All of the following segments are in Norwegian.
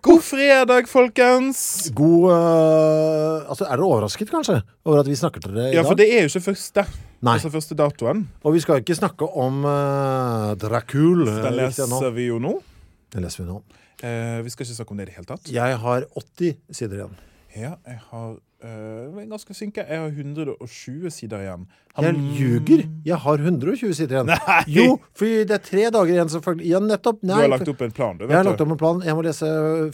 God fredag, folkens! God eh, Altså, er dere overrasket, kanskje, over at vi snakker til dere i Ja, for dag? det er jo ikke første. Nei. Altså første datoen. Og vi skal ikke snakke om uh, Dracul. eh, Den riktig nå. leser vi jo nå. Den leser vi nå. Eh, vi skal ikke snakke om det i det hele tatt. Jeg har 80 sider igjen. Ja, jeg har eh, jeg er ganske synka. Jeg har 120 sider igjen. Han- Jeg ljuger. Jeg har 120 sider igjen. Nei. Jo, for det er tre dager igjen. Så faktisk, ja, nettopp. Nei, Du har lagt for- opp en plan, du. jeg har vet lagt du. opp en plan. Jeg må lese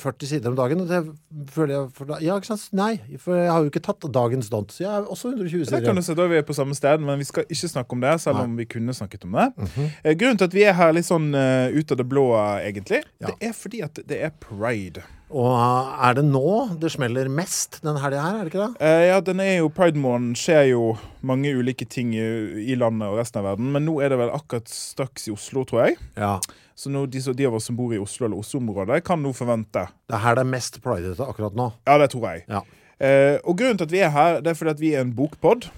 40 sider om dagen. Og det føler jeg for da, Ja, ikke sant? Nei, for jeg har jo ikke tatt dagens dont. Så jeg har også 120 Der sider kan du igjen. se, da er vi på samme sted, men vi skal ikke snakke om det. Selv om vi kunne snakket om det Mhm. Eh, Grunnen til at vi er her litt sånn eh, ut av det blå, eh, egentlig, det er fordi at det er pride. Og eh, er det nå det smeller mest den helga her, er det ikke det? Eh, ja, den er jo Pride-måneden skjer jo mange ulike ting i, i landet og resten av verden, men nå er det vel akkurat straks i Oslo, tror jeg. Ja. Så nå, de, som- de av oss som bor i Oslo eller Oslo-området, kan nå forvente. Det er her det er mest pridete akkurat nå. Ja, det tror jeg. Ja. Eh, og grunnen til at vi er her, det er fordi at vi er en bokpod.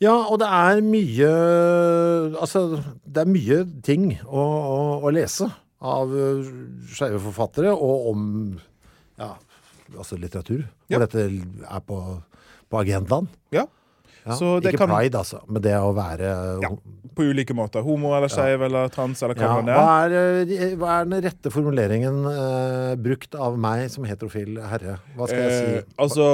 Ja, og det er mye Altså, det er mye ting å, å, å lese av eh, skeive forfattere, og om ja, altså litteratur. Ja. Og dette er på, på agendaen. Ja. Ja. Så det Ikke kan- pride, altså, men det å være Ja, på ulike måter. Homo eller skeiv eller trans eller hva Ja, man hva, er. er, eh, de- hva er den rette formuleringen eh, brukt av meg som heterofil herre? Hva skal Eh, jeg si? altså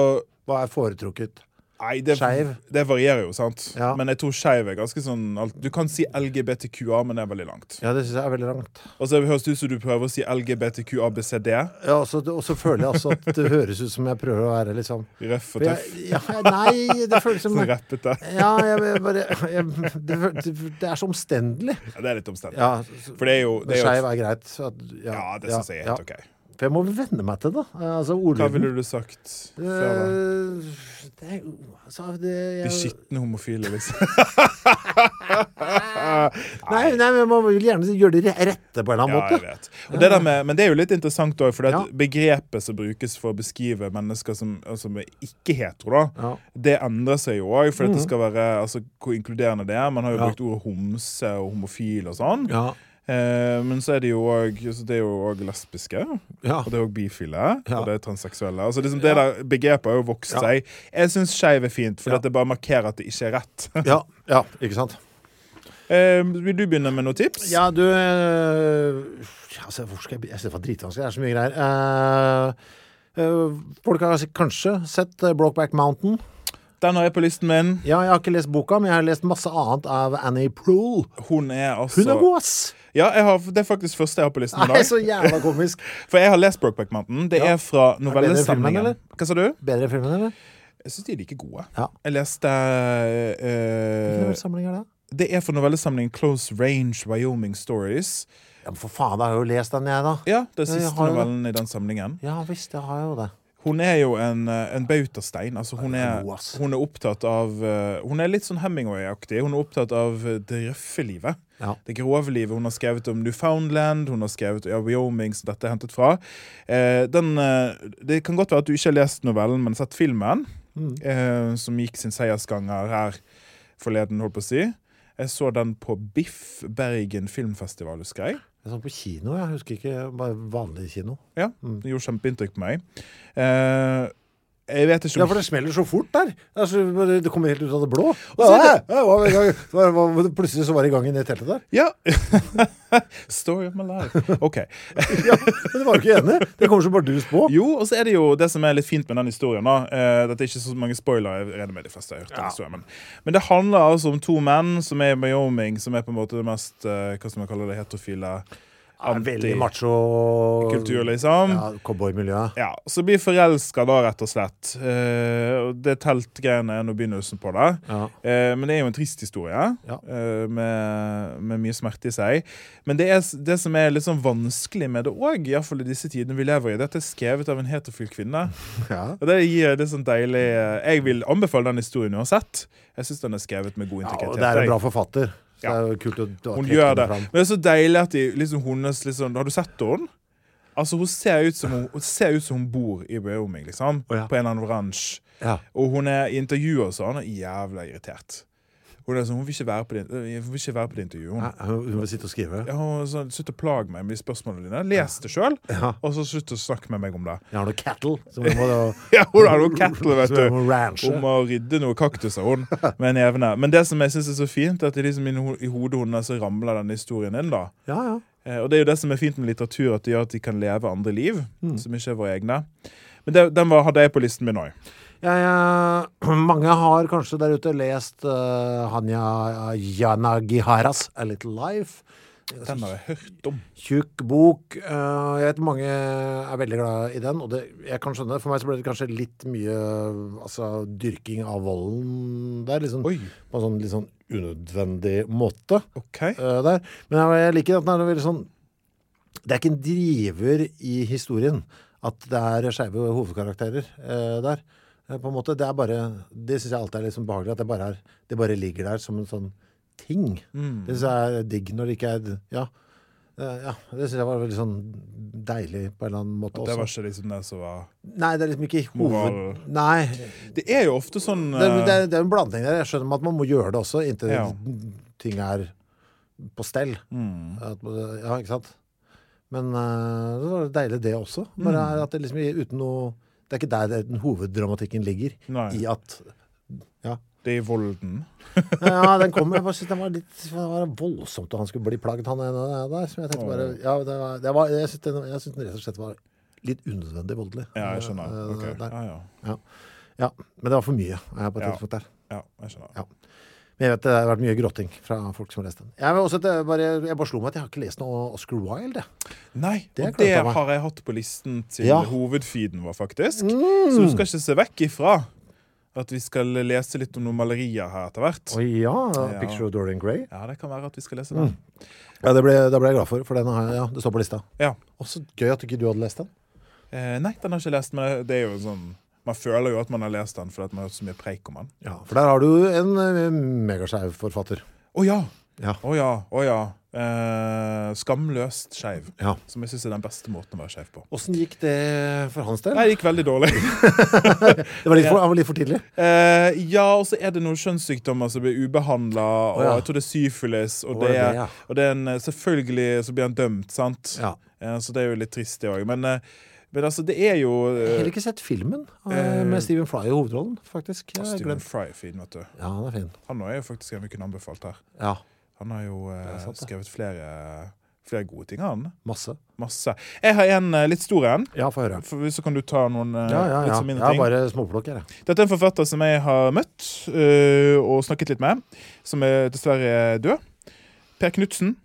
Hva er foretrukket? Nei, det, Skeiv. det varierer jo, sant? Ja. Men jeg tror skeiv er ganske sånn alt- Du kan si LGBTQA, men det er veldig langt. Ja, det syns jeg er veldig langt. Og så høres det ut som du prøver å si LGBTQABCD. Ja, og så- og så føler jeg også at det høres ut som jeg prøver å være liksom Røff og For tøff. jeg, ja, nei, det føles som Sånn rappete. Ja, jeg, jeg bare jeg, det, føl- det er så omstendelig. Ja, det er litt omstendelig. Ja, For det er jo, det er jo Skeiv er greit. så At, Ja, det syns jeg er helt OK. For jeg må venne meg til det. Altså Hva ordlyden. ville du sagt før da? Eh, det er jo- altså, det- De jeg- skitne homofile, liksom. Nei, nei, men man vil gjerne gjøre det rette på en eller annen Ja, jeg måte. vet. Og det der med, men det er jo litt interessant òg, for det at Ja. begrepet som brukes for å beskrive mennesker som, som er ikke-hetero, da, Ja. Mm. det endrer seg jo òg, for at det skal være altså, hvor inkluderende det er. Man har jo Ja. brukt ordet homse og homofil og sånn. Ja, Eh, men så er det jo òg det er jo også lesbiske. ja. Og det er òg bifile. Ja. Og det er transseksuelle. Altså, liksom, det der begrepet har jo vokst Ja. seg. Jeg syns skeiv er fint, for Ja. det bare markerer at det ikke er rett. Ja, ja, ikke sant? Eh, vil du begynne med noen tips? Ja, du øh, altså, hvor skal jeg, be- jeg synes det var dritvanskelig. Det er så mye greier. Eh, eh, folk har sik- kanskje sett eh, Brokeback Mountain. Den har jeg på listen min. Ja, jeg har ikke lest boka, men jeg har lest masse annet av Annie Proul. Hun er altså Hun er god, ass! Ja, jeg har, Det er faktisk første jeg har på listen i Nei, så dag. jævla komisk. For jeg har lest Brokeback Mountain. Det Ja. er fra filmen, novellesamlingen. eller? Hva sa du? Bedre filmen, eller? Jeg syns de er like gode. Ja. Jeg leste eh, Hvilken samling er det? Det er fra novellesamlingen Close Range Wyoming Stories. Ja, men for faen, da har jeg jo lest den, jeg, da. Ja, det er Ja, jeg siste har det. novellen i den samlingen. Ja visst, jeg har jo det. Hun er jo en, eh, en bautastein. Altså, hun, er, god, ass. hun er opptatt av eh, Hun er litt sånn Hemingway-aktig. Hun er opptatt av eh, det røffe livet. Ja. Det grove livet. Hun har skrevet om Newfoundland, hun har skrevet ja, Wyoming, som dette er hentet fra. Eh, den, eh, det kan godt være at du ikke har lest novellen, men sett filmen, Mm. eh, som gikk sin seiersganger her forleden, holdt på å si. Jeg så den på Biff Bergen filmfestival, husker jeg. Jeg så den sånn på kino, jeg husker ikke. Bare vanlig kino. Ja, Det gjorde kjempeinntrykk på meg. Eh, Jeg vet ikke Ja, om for det smeller så fort der. Det er så- bare- det kommer helt ut av det blå. så Og så, er det- ja, hva var i gang- hva- hva- plutselig så var det i gang i det teltet der. Ja! Story of my life. OK. Ja, men det var jo ikke enig. Det kommer så bardus på. Jo, og så er det jo det som er litt fint med den historien. da eh, Dette er ikke så mange spoilere. jeg regner med de fleste har hørt den historien Men, men det handler altså om to menn som er i Wyoming, som er på en måte det mest eh, hva skal man kalle det, heterofile Ja, veldig anti- macho kultur, liksom. Ja, Cowboymiljøet. Ja, så blir forelska da, rett og slett. Eh, og det teltgreiene er nå begynnelsen på det. Ja. Eh, men det er jo en trist historie, Ja. eh, med, med mye smerte i seg. Men det, er, s- det som er litt sånn vanskelig med det òg, iallfall i disse tidene vi lever i, det er at det er skrevet av en heterofil kvinne. Ja. Og det gir det sånn deilig eh, Jeg vil anbefale den historien uansett. Jeg syns den er skrevet med god Ja, integritet. og det er en jeg. bra forfatter. Så Ja. det er jo kult å, å Hun trekke gjør det. henne fram. Men det er så deilig at de, liksom, hennes liksom, Har du sett henne? Altså, hun ser ut som hun, hun, ser ut som hun bor i Wyoming, liksom. Å, ja. På en eller annen oransje. Ja. Og hun er i intervjuer og sånn, og jævla irritert. Hun, er sånn, hun, vil ikke være på det, hun vil ikke være på det intervjuet. Hun, Nei, Hun må sitte og skrive. ja, hun er sånn, Slutt å plage meg med de spørsmålene dine. Les det sjøl, Ja. og så slutt å snakke med meg om det. Jeg har noe cattle. Så jeg må da, Ja, hun har noen cattle, vet Så du. jeg må ranche. Hun må rydde noen kaktuser hun, med nevene. Men det som jeg synes er så fint, er at det er liksom i ho- i hodet hennes så ramler denne historien inn. da. ja, ja. Eh, Og det er jo det som er fint med litteratur, at det gjør at de kan leve andre liv. Mm. som ikke er våre egne. Men det, den var, hadde jeg på listen min òg. Jeg, eh, mange har kanskje der ute lest eh, Hanya Yanagiharas A Little Life. Den har jeg hørt om. Tjukk bok. Eh, jeg vet mange er veldig glad i den, og det, jeg kan skjønne. For meg så ble det kanskje litt mye altså, dyrking av volden der. Liksom, Oi. På en sånn litt sånn unødvendig måte Ok. eh, der. Men jeg, jeg liker at den er veldig sånn Det er ikke en driver i historien at det er skeive hovedkarakterer eh, der. eh, På en måte, Det er bare, det syns jeg alltid er litt sånn behagelig. At det bare, er, det bare ligger der som en sånn ting. Mm. Det syns jeg er digg når det ikke er Ja. eh, ja det syns jeg var veldig sånn deilig på en eller annen måte Det også. var ikke liksom det som var Nei, det er liksom ikke hoved... Moral. Nei. Det er jo ofte sånn Det, er- det, eh, er- det er en blanding der. Jeg skjønner at man må gjøre det også inntil Ja. ting er på stell. Mm. At, ja, ikke sant? Men eh, det var deilig det også. Bare Mm. er at det liksom i- uten noe Det er ikke der det- den hoveddramatikken ligger. Nei. I at ja. Det er i Volden. ja, den kom. Jeg bare synes den var litt Det var voldsomt at han skulle bli plagd, han ene der. Så jeg tenkte bare ja, det var, det var, Jeg syns den, jeg synes den rett og slett var litt unødvendig voldelig. Ja, jeg skjønner. eh, Ok. der. Ja, ja. Ja. ja, men det var for mye eh, på et Ja. tidspunkt der. ja, jeg skjønner. Ja. Men jeg vet det har vært mye gråting fra folk som har lest den. Jeg, vil også, det er bare, jeg bare slo meg at jeg har ikke lest noe Oscar Wilde. jeg. Nei, Det og klarte det jeg meg. har jeg hatt på listen til Ja. Mm. hovedfeeden vår, faktisk. Så du skal ikke se vekk ifra at vi skal lese litt om noen malerier her etter hvert. Å ja, 'Picture of Dorian Gray'. Ja, det kan være at vi skal lese Mm. den. Ja, det ble, det ble jeg glad for, for den har, jeg- ja, det står på lista. Ja. Å, så gøy at ikke du hadde lest den. Eh, nei, den har jeg ikke lest, men det er jo en sånn Man føler jo at man har lest den fordi at man har hørt så mye preik om den. Ja, For der har du en eh, megaskeiv forfatter. Å ja! Ja. Å ja. Å ja. Eh, skamløst skeiv. Ja. Som jeg syns er den beste måten å være skeiv på. Åssen gikk det for hans del? Nei, det gikk veldig dårlig. Det var litt for, han var litt for tidlig. Eh, ja, og så er det noen kjønnssykdommer som blir ubehandla. Og ja. jeg tror det er syfilis. Og, Å, det, det er er- det, ja. og det er en, eh, selvfølgelig så blir han dømt, sant? Ja. Eh, så det er jo litt trist, det òg. Men, eh, men altså, det er jo Jeg har eh, heller ikke sett filmen eh, med Stephen Fry i hovedrollen, faktisk. Jeg har Stephen glemt. Fry-feeden, vet du. Ja, han er fin. Han er jo faktisk en vi kunne anbefalt her. Ja, Han har jo eh, sant, det. skrevet flere, flere gode ting, han. Masse. Eh, Masse. Jeg har en eh, litt stor en. Ja, få høre. For så kan du ta noen eh, Ja, ja, litt ja. sånn mindre Jeg ting. har bare småplukk her, jeg. Dette er en forfatter som jeg har møtt eh, og snakket litt med, som er dessverre død. Per Knutsen.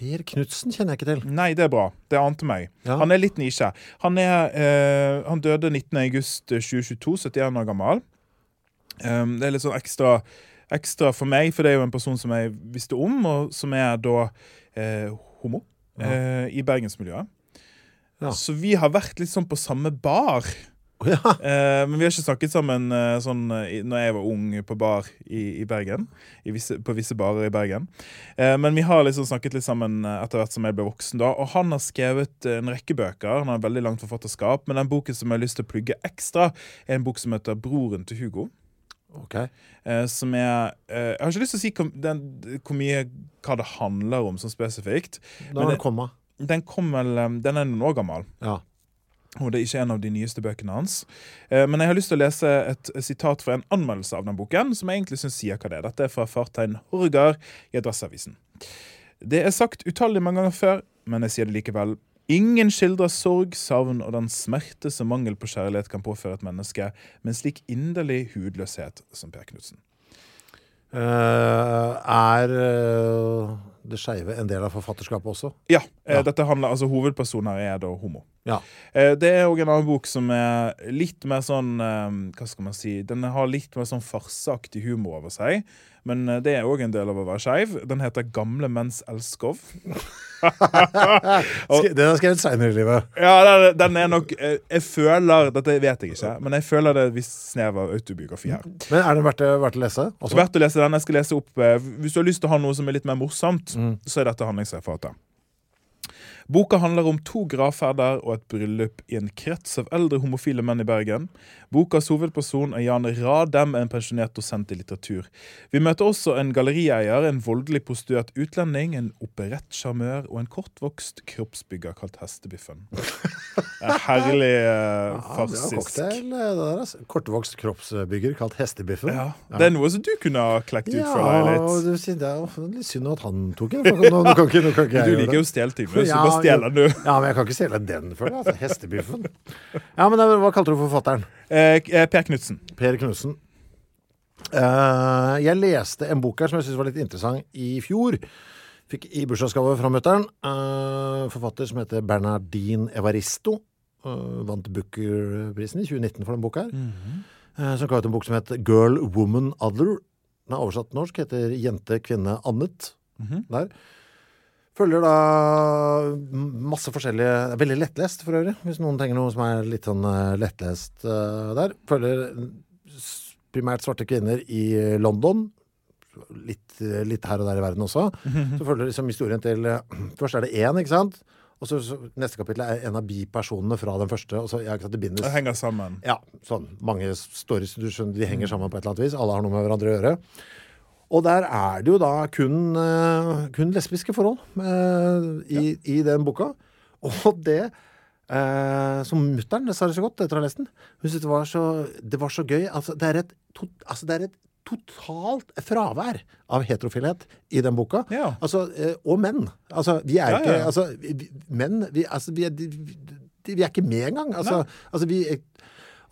Per Knutsen kjenner jeg ikke til. Nei, det er bra. Det ante meg. Ja. Han er litt nisje. Han, er, eh, han døde 19.8.2022, 71 år gammel. Um, det er litt sånn ekstra, ekstra for meg, for det er jo en person som jeg visste om, og som er da eh, homo eh, i bergensmiljøet. Ja. Så vi har vært litt sånn på samme bar. Ja. Eh, men vi har ikke snakket sammen eh, sånn eh, i- når jeg var ung på bar i, i Bergen. I visse, på visse barer i Bergen. Eh, men vi har liksom snakket litt sammen eh, etter hvert som jeg ble voksen. da Og han har skrevet eh, en rekke bøker. Han har veldig langt forfatterskap. Men den boken som jeg har lyst til å plugge ekstra, er en bok som heter 'Broren til Hugo'. Ok. Eh, som er eh, Jeg har ikke lyst til å si hvor, den, hvor mye hva det handler om sånn spesifikt. Da Men var det- det komma. Den kom vel eh, Den er noen år gammel. Ja. Og det er ikke en av de nyeste bøkene hans. Eh, Men jeg har lyst til å lese et sitat fra en anmeldelse av den boken, som jeg egentlig syns sier hva det er. Dette er fra Fartein Horgar i Adresseavisen. Det er sagt utallig mange ganger før, men jeg sier det likevel. Ingen skildrer sorg, savn og den smerte som mangel på kjærlighet kan påføre et menneske, med en slik inderlig hudløshet som Per Knutsen. Eh, er eh, det skeive en del av forfatterskapet også? Ja, eh, dette handler, altså Hovedpersonen her er da homo. Ja. Eh, Det er òg en annen bok som er litt mer sånn eh, Hva skal man si? Den har litt mer sånn farseaktig humor over seg. Men eh, det er òg en del av å være skeiv. Den heter 'Gamle menns elskov'. Sk- Den er skrevet seinere i livet. Ja, den, den er nok eh, Jeg føler Dette vet jeg ikke, men jeg føler det er et visst snev av autobiografi her. Men er den verdt, det- verdt å lese? Så Også? verdt å lese den. Jeg skal lese opp eh, Hvis du har lyst til å ha noe som er litt mer morsomt, Mm. så er dette handlingsreferatet. Boka handler om to gravferder og et bryllup i en krets av eldre homofile menn i Bergen. Bokas hovedperson er Jan Radem, en pensjonert dosent i litteratur. Vi møter også en gallerieier, en voldelig prostituert utlending, en operettsjarmør og en kortvokst kroppsbygger kalt Hestebiffen. Eh, Herlig eh, Ja, det er en farsisk. cocktail. eh, Det der, altså. Kortvokst kroppsbygger kalt Hestebiffen. Ja, det er noe som du kunne ha klekt ut, føler jeg litt. og du sier, det er jo litt synd at han tok den. for Nå, nå kan ikke, nå kan ikke jeg Du gjøre liker jo å det. stjele ting, men så bare stjeler du. Ja, men jeg kan ikke stjele den før. Altså, hestebiffen. Ja, men det- Hva kalte du forfatteren? Eh, eh, per Knutsen. Per Knutsen. jeg leste en bok her som jeg syntes var litt interessant i fjor. Fikk i bursdagsgave fra mutter'n. Eh, forfatter som heter Bernardine Evaristo. eh, vant Booker-prisen i 2019 for den boka her. Eh, som ga ut en bok som het Girl, Woman, Other. Den er oversatt til norsk, heter Jente, kvinne, annet. Der. Følger da masse forskjellige det er Veldig lettlest, for øvrig, hvis noen trenger noe som er litt sånn eh, lettlest eh, der. Følger s- primært svarte kvinner i London. Litt, eh, litt her og der i verden også. Så følger liksom historien til eh, Først er det én, ikke sant? Og så, så neste kapittel er en av bipersonene fra den første. Og så, ja, ikke sant, det bindes Det henger sammen. ja, sånn. Mange stories du skjønner, de henger sammen på et eller annet vis. Alle har noe med hverandre å gjøre. Og der er det jo da kun, eh, kun lesbiske forhold eh, i, i den boka. Og det eh, som mutter'n sa det så godt etter å ha lest den Hun syntes det var så, det var så gøy. Altså, det er et, to, altså, det er et totalt fravær av heterofilhet i den boka. Ja. Altså, eh, og menn. Altså, vi er Ja, ikke ja. Altså, vi, vi- menn vi, altså, vi, er, de- de, vi er ikke med engang. Altså, altså vi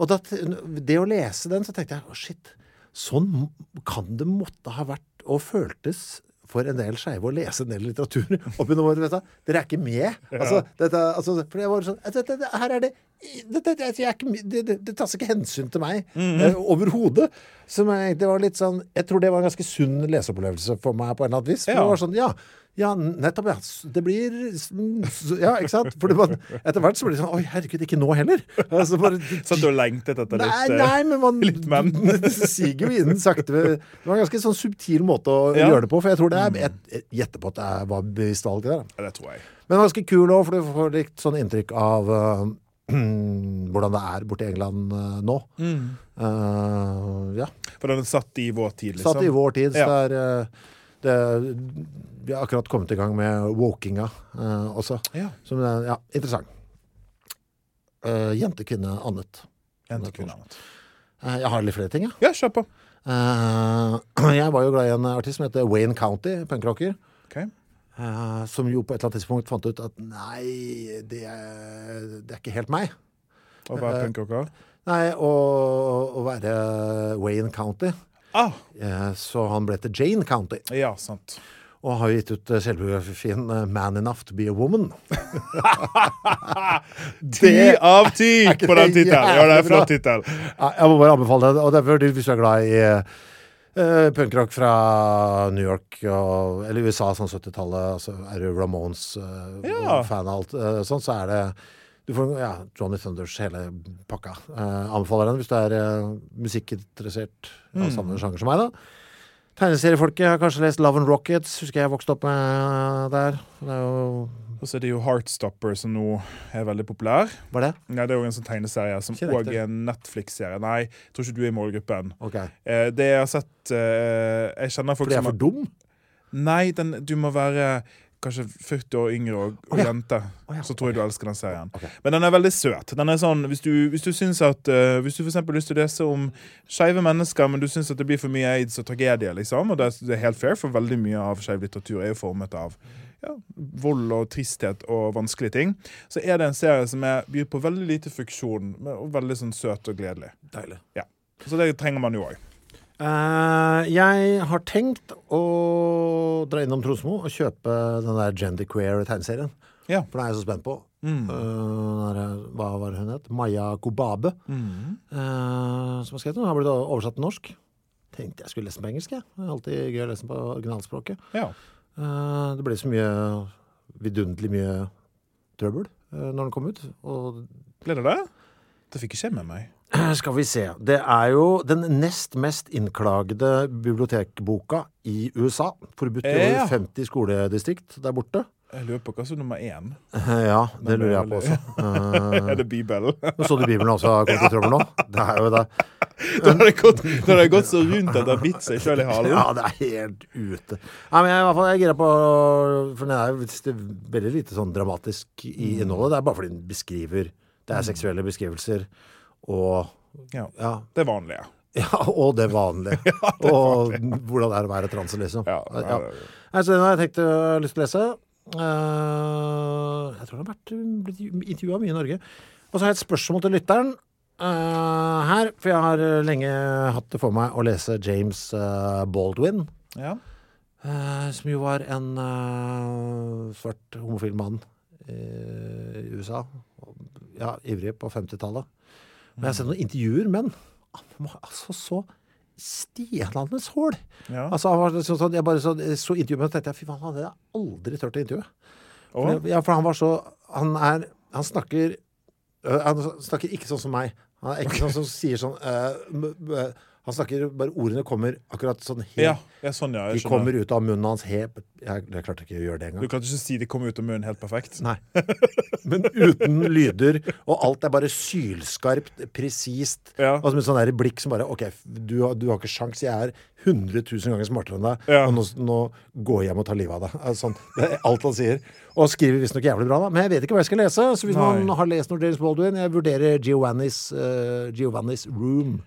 Og da, det å lese den, så tenkte jeg å shit, sånn kan det måtte ha vært og føltes for en del skeive å lese en del litteratur opp gjennom året. vet du. Dere er ikke med. Altså, dette, altså, for jeg var sånn dette, dette, Her er det dette, dette- jeg er ikke, med. det, det, det tas ikke hensyn til meg eh, overhodet. Som jeg, det var litt sånn Jeg tror det var en ganske sunn leseopplevelse for meg på en eller annen vis. For Ja. det var sånn, ja, ja, nettopp, ja. S- Det blir s- s- Ja, ikke sant? For det var, etter hvert så blir det sånn Oi, herregud, ikke nå heller. Altså, bare, Satt du og lengtet etter nei, litt eh, nei, men man litt menn. det siger jo inn sakte. Det var en ganske sånn subtil måte å Ja. Mm. gjøre det på, for jeg tror det er Jeg jeg gjetter på at det er- var bevisst valg, det der. Ja, det tror jeg. Men ganske kul òg, for du får litt sånn inntrykk av eh, hvordan det er borte i England eh, nå. Mm. Eh, ja. For den satt i vår tid, liksom. Satt i vår tid, så Ja. det er eh, det, Vi har akkurat kommet i gang med wokinga eh, også. Ja. Som er ja, interessant. Eh, jente, kvinne, annet. En til kvinne. Eh, jeg har litt flere ting, jeg. Ja, kjør på. Eh, jeg var jo glad i en artist som heter Wayne County, punkrocker. Ok. eh, som jo på et eller annet tidspunkt fant ut at nei, det er, det er ikke helt meg. Og Eh, være punkrocker. Nei, å, å være Wayne County. Ah, Eh, så han ble til Jane County. ja, sant. Og har jo gitt ut eh, selvbiografien eh, 'Man Enough To Be A Woman'. Ti av ti Er ikke på den det tittelen! Ja, det er jævlig en flott bra? tittel. Ja, Jeg må bare anbefale det. Og derfor, hvis du er glad i uh, punkrock fra New York og, eller USA, sånn 70-tallet, altså er du Ramones eh, Ja. og fan av alt eh, sånn, så er det du får, ja, Johnny Thunders, hele pakka. Eh, anbefaler den hvis du er eh, musikkinteressert av samme sjanger som meg, da. Tegneseriefolket har kanskje lest Love and Rockets, husker jeg vokste opp med eh, der. Det er jo, Og så er det jo Heartstopper, som nå er veldig populær. var det? Nei, Det er jo en sånn tegneserie som Ikke riktig. òg er en Netflix-serie. Nei, jeg tror ikke du er i målgruppen. Ok. Eh, det jeg har sett eh, Jeg kjenner folk Fordi jeg som er har for dum? Nei, den, du må være kanskje 40 år yngre og, og ja. jente, Å ja, så tror jeg du elsker den serien. Men den er veldig søt. Den er sånn, Hvis du, hvis du syns at eh, Hvis du for eksempel har lyst til å lese om skeive mennesker, men du syns at det blir for mye aids og tragedie, liksom, og det er, det er helt fair, for veldig mye av skeiv litteratur er jo formet av ja, vold og tristhet og vanskelige ting, så er det en serie som er, byr på veldig lite funksjon, men og veldig sånn søt og gledelig. Deilig. Ja. Så det trenger man jo òg. Eh, jeg har tenkt å dra innom Trosmo og kjøpe den der Genderqueer tegneserien. Ja. For den er jeg så spent på. Eh, den der, hva var det hun het? Maja Kobabe. eh, som har skrevet den. Har blitt oversatt til norsk. Tenkte jeg skulle lese den på engelsk. jeg. Det er alltid gøy å lese den på originalspråket. Ja. Eh, Det ble så mye vidunderlig mye trøbbel eh, når den kom ut. Og Ble det det? Det fikk ikke jeg med meg. skal vi se Det er jo den nest mest innklagede bibliotekboka i USA. Forbudt i Ja. over 50 skoledistrikt der borte. eh, Jeg lurer på hva som er nummer én. Ja, det lurer jeg på også. Eh, Er det Bibelen? Nå så du Bibelen også har kommet i trøbbel nå. Det er jo det. Da har det gått, da har det gått så rundt at det har bitt seg sjøl i halen. Ja, det er helt ute. Nei, men jeg, er i hvert fall, jeg er gira på For den er jo visst veldig lite sånn dramatisk i innholdet. Det er bare fordi den beskriver Det er seksuelle beskrivelser og Ja. Ja, Det er vanlige. ja og det vanlige. og hvordan det er å være transe, liksom. Ja, ja, ja, ja, ja. Nei, så den har jeg tenkt øh, jeg har lyst til å lese. Eh, jeg tror den har vært, blitt intervjua mye i Norge. Og så har jeg et spørsmål til lytteren eh, her. For jeg har øh, lenge hatt det for meg å lese James eh, Baldwin. Ja. Eh, som jo var en eh, svart homofil mann eh, i USA. Og, Ja, ivrig på 50-tallet. Men jeg har sett noen intervjuer med han. Han var altså så stenende hål! Ja. Altså, han var sånn, sånn, jeg bare så, så intervjuet med ham og tenkte jeg, fy faen, han hadde jeg aldri tørt å intervjue. For, Og det- ja, for han var så Han er Han snakker øh, Han snakker ikke sånn som meg. Han er ikke sånn som sier sånn øh, m- m- Han snakker bare Ordene kommer akkurat sånn helt ja, ja, sånn, ja. de Jeg kommer skjønner. ut av munnen hans helt Jeg, jeg klarte ikke å gjøre det Du engang. kan ikke si de kommer ut av munnen helt perfekt. Nei. Men uten lyder, og alt er bare sylskarpt, presist. Ja. Og som et sånn der blikk som bare OK, du, har- du har ikke sjans, jeg er 100 000 ganger smartere enn deg, Ja. og nå, nå går jeg hjem og tar livet av deg. Altså, Sånn, det er alt han sier. Og skriver visstnok jævlig bra, da. Men jeg vet ikke hva jeg skal lese. Så hvis Nei. man har lest noe James Baldwin Jeg vurderer Giovanni's, eh, Giovanni's Room.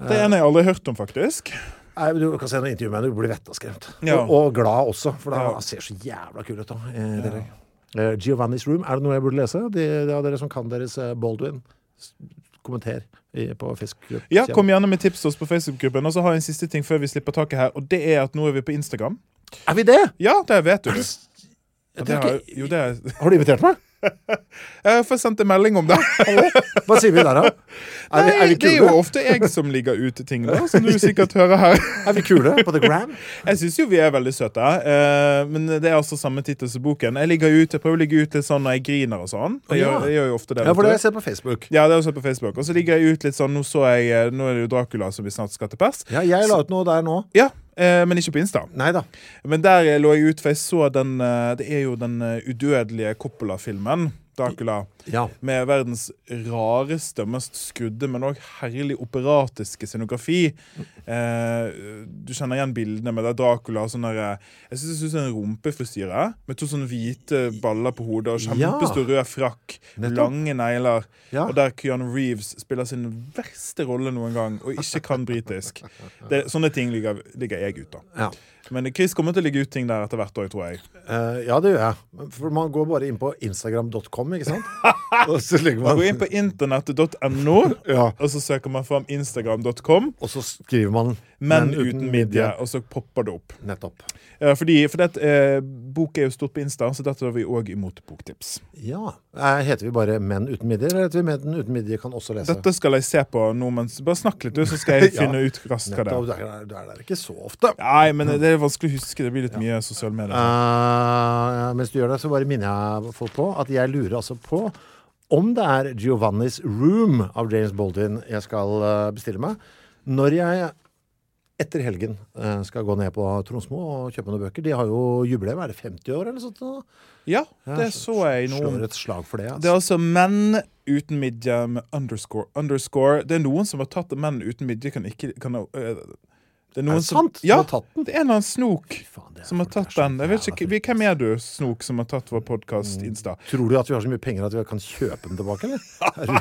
Det er en jeg aldri har hørt om, faktisk. Nei, men Du kan se noen intervju med henne, du blir vettaskremt. Ja. Og, og glad også, for da, Ja. han ser så jævla kul ut. da. Eh, dere. Eh, Giovanni's Room, er det noe jeg burde lese? De, de av dere som kan deres eh, Baldwin, s- kommenter i, på Fiskgruppen. Ja, Kom gjerne med tips til oss på Facebook-gruppen. Og så har jeg en siste ting før vi slipper taket her, og det er at nå er vi på Instagram. Er vi det? Ja, det vet du. Ja, det Jeg tror har, ikke- jo, det er, Har du invitert meg? jeg får sendt en melding om det. Hva sier vi der, da? Er Nei, vi, er vi det er jo kule? ofte jeg som ligger ute ting, da, som du sikkert hører her. Er vi kule på The Gram? Jeg syns jo vi er veldig søte, eh, men det er altså samme tittel som boken. Jeg ligger ut, jeg prøver å ligge ut litt sånn når jeg griner og sånn. Jeg, Ja. gjør, jeg gjør jo ofte det. vet Ja, for det du. har jeg sett på Facebook. Ja, det har jeg sett på Facebook. Og så ligger jeg ut litt sånn Nå så jeg, eh, nå er det jo Dracula som vi snart skal til pers. Ja, jeg la ut noe der nå. Ja, eh, men ikke på Insta. Nei da. Men der eh, lå jeg ut, for jeg så den eh, Det er jo den eh, udødelige Coppola-filmen. Dracula. Ja. Med verdens rareste, mest skrudde, men òg herlig operatiske scenografi. Eh, du kjenner igjen bildene med det er Dracula og sånn der eh, Jeg syns det ser ut som en rumpefrisyre. eh, Med to sånne hvite baller på hodet og Ja. kjempestor rød frakk. Nettopp. Lange negler. Ja. Og der Keanu Reeves spiller sin verste rolle noen gang og ikke kan britisk. Det, sånne ting ligger, ligger jeg ute av. Ja. Men Chris kommer til å ligge ut ting der etter hvert òg, tror jeg. Eh, ja, det gjør jeg. For man går bare inn på instagram.com, ikke sant? Og så legger Gå man inn på internettet.no, Ja. og så søker man fram instagram.com. Og så skriver man Men uten midje, og så popper det opp. Nettopp. Eh, fordi, for det, eh, bok er jo stort på Insta, så dette har vi òg imot boktips. Ja. Eh, Heter vi bare Menn uten midje, eller heter vi Menn uten midje kan også lese? Dette skal jeg se på nå, mens Bare snakk litt, du, så skal jeg Ja. finne ut raskt hva det er. Nettopp. Du er, der- du er der ikke så ofte. Nei, men det er vanskelig å huske. Det blir litt mye sosiale medier. Eh, mens du gjør det, så bare minner jeg folk på at jeg lurer altså på om det er Giovanni's Room av James Baldwin jeg skal eh, bestille meg. Når jeg etter helgen eh, skal gå ned på Tronsmo og kjøpe noen bøker. De har jo jubileum. Er det 50 år eller noe sånt? nå? Ja, det så jeg nå. Slår et slag for det. Det er Altså. altså menn uten midje med underscore. underscore. Det er noen som har tatt menn uten midje kan ikke kan, øh, Det er, Er noen det sant? Ja, Du har tatt den? det er en eller annen snok faen, det er som har folk tatt er så den. Jeg vet ikke, jævla Mm. vi- Hvem er du, snok, som har tatt vår podkast Insta? Tror du at vi har så mye penger at vi kan kjøpe dem tilbake, eller? Er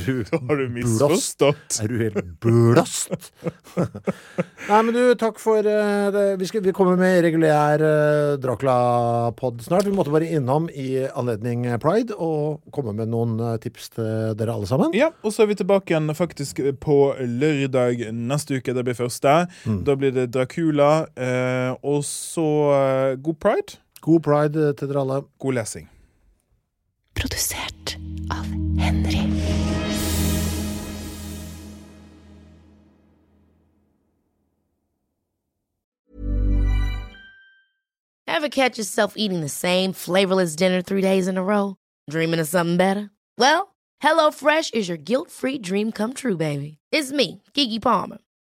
du, er du, Har du blåst? misforstått? Er du helt blåst? Nei, men du, takk for eh, det. Vi, skal, vi kommer med regulær eh, Dracula-pod snart. Vi måtte bare innom i anledning Pride og komme med noen eh, tips til dere alle sammen. Ja, og så er vi tilbake igjen faktisk på lørdag neste uke. Det blir første. Mm. Da blir det Dracula. Eh, og så eh, god pride. God pride eh, til dere alle. God lesing. Produsert av Henry. Ever catch yourself eating the same flavorless dinner three days in a row? Dreaming of something better? Well, HelloFresh is your guilt free dream come true, baby. It's me, Kiki Palmer.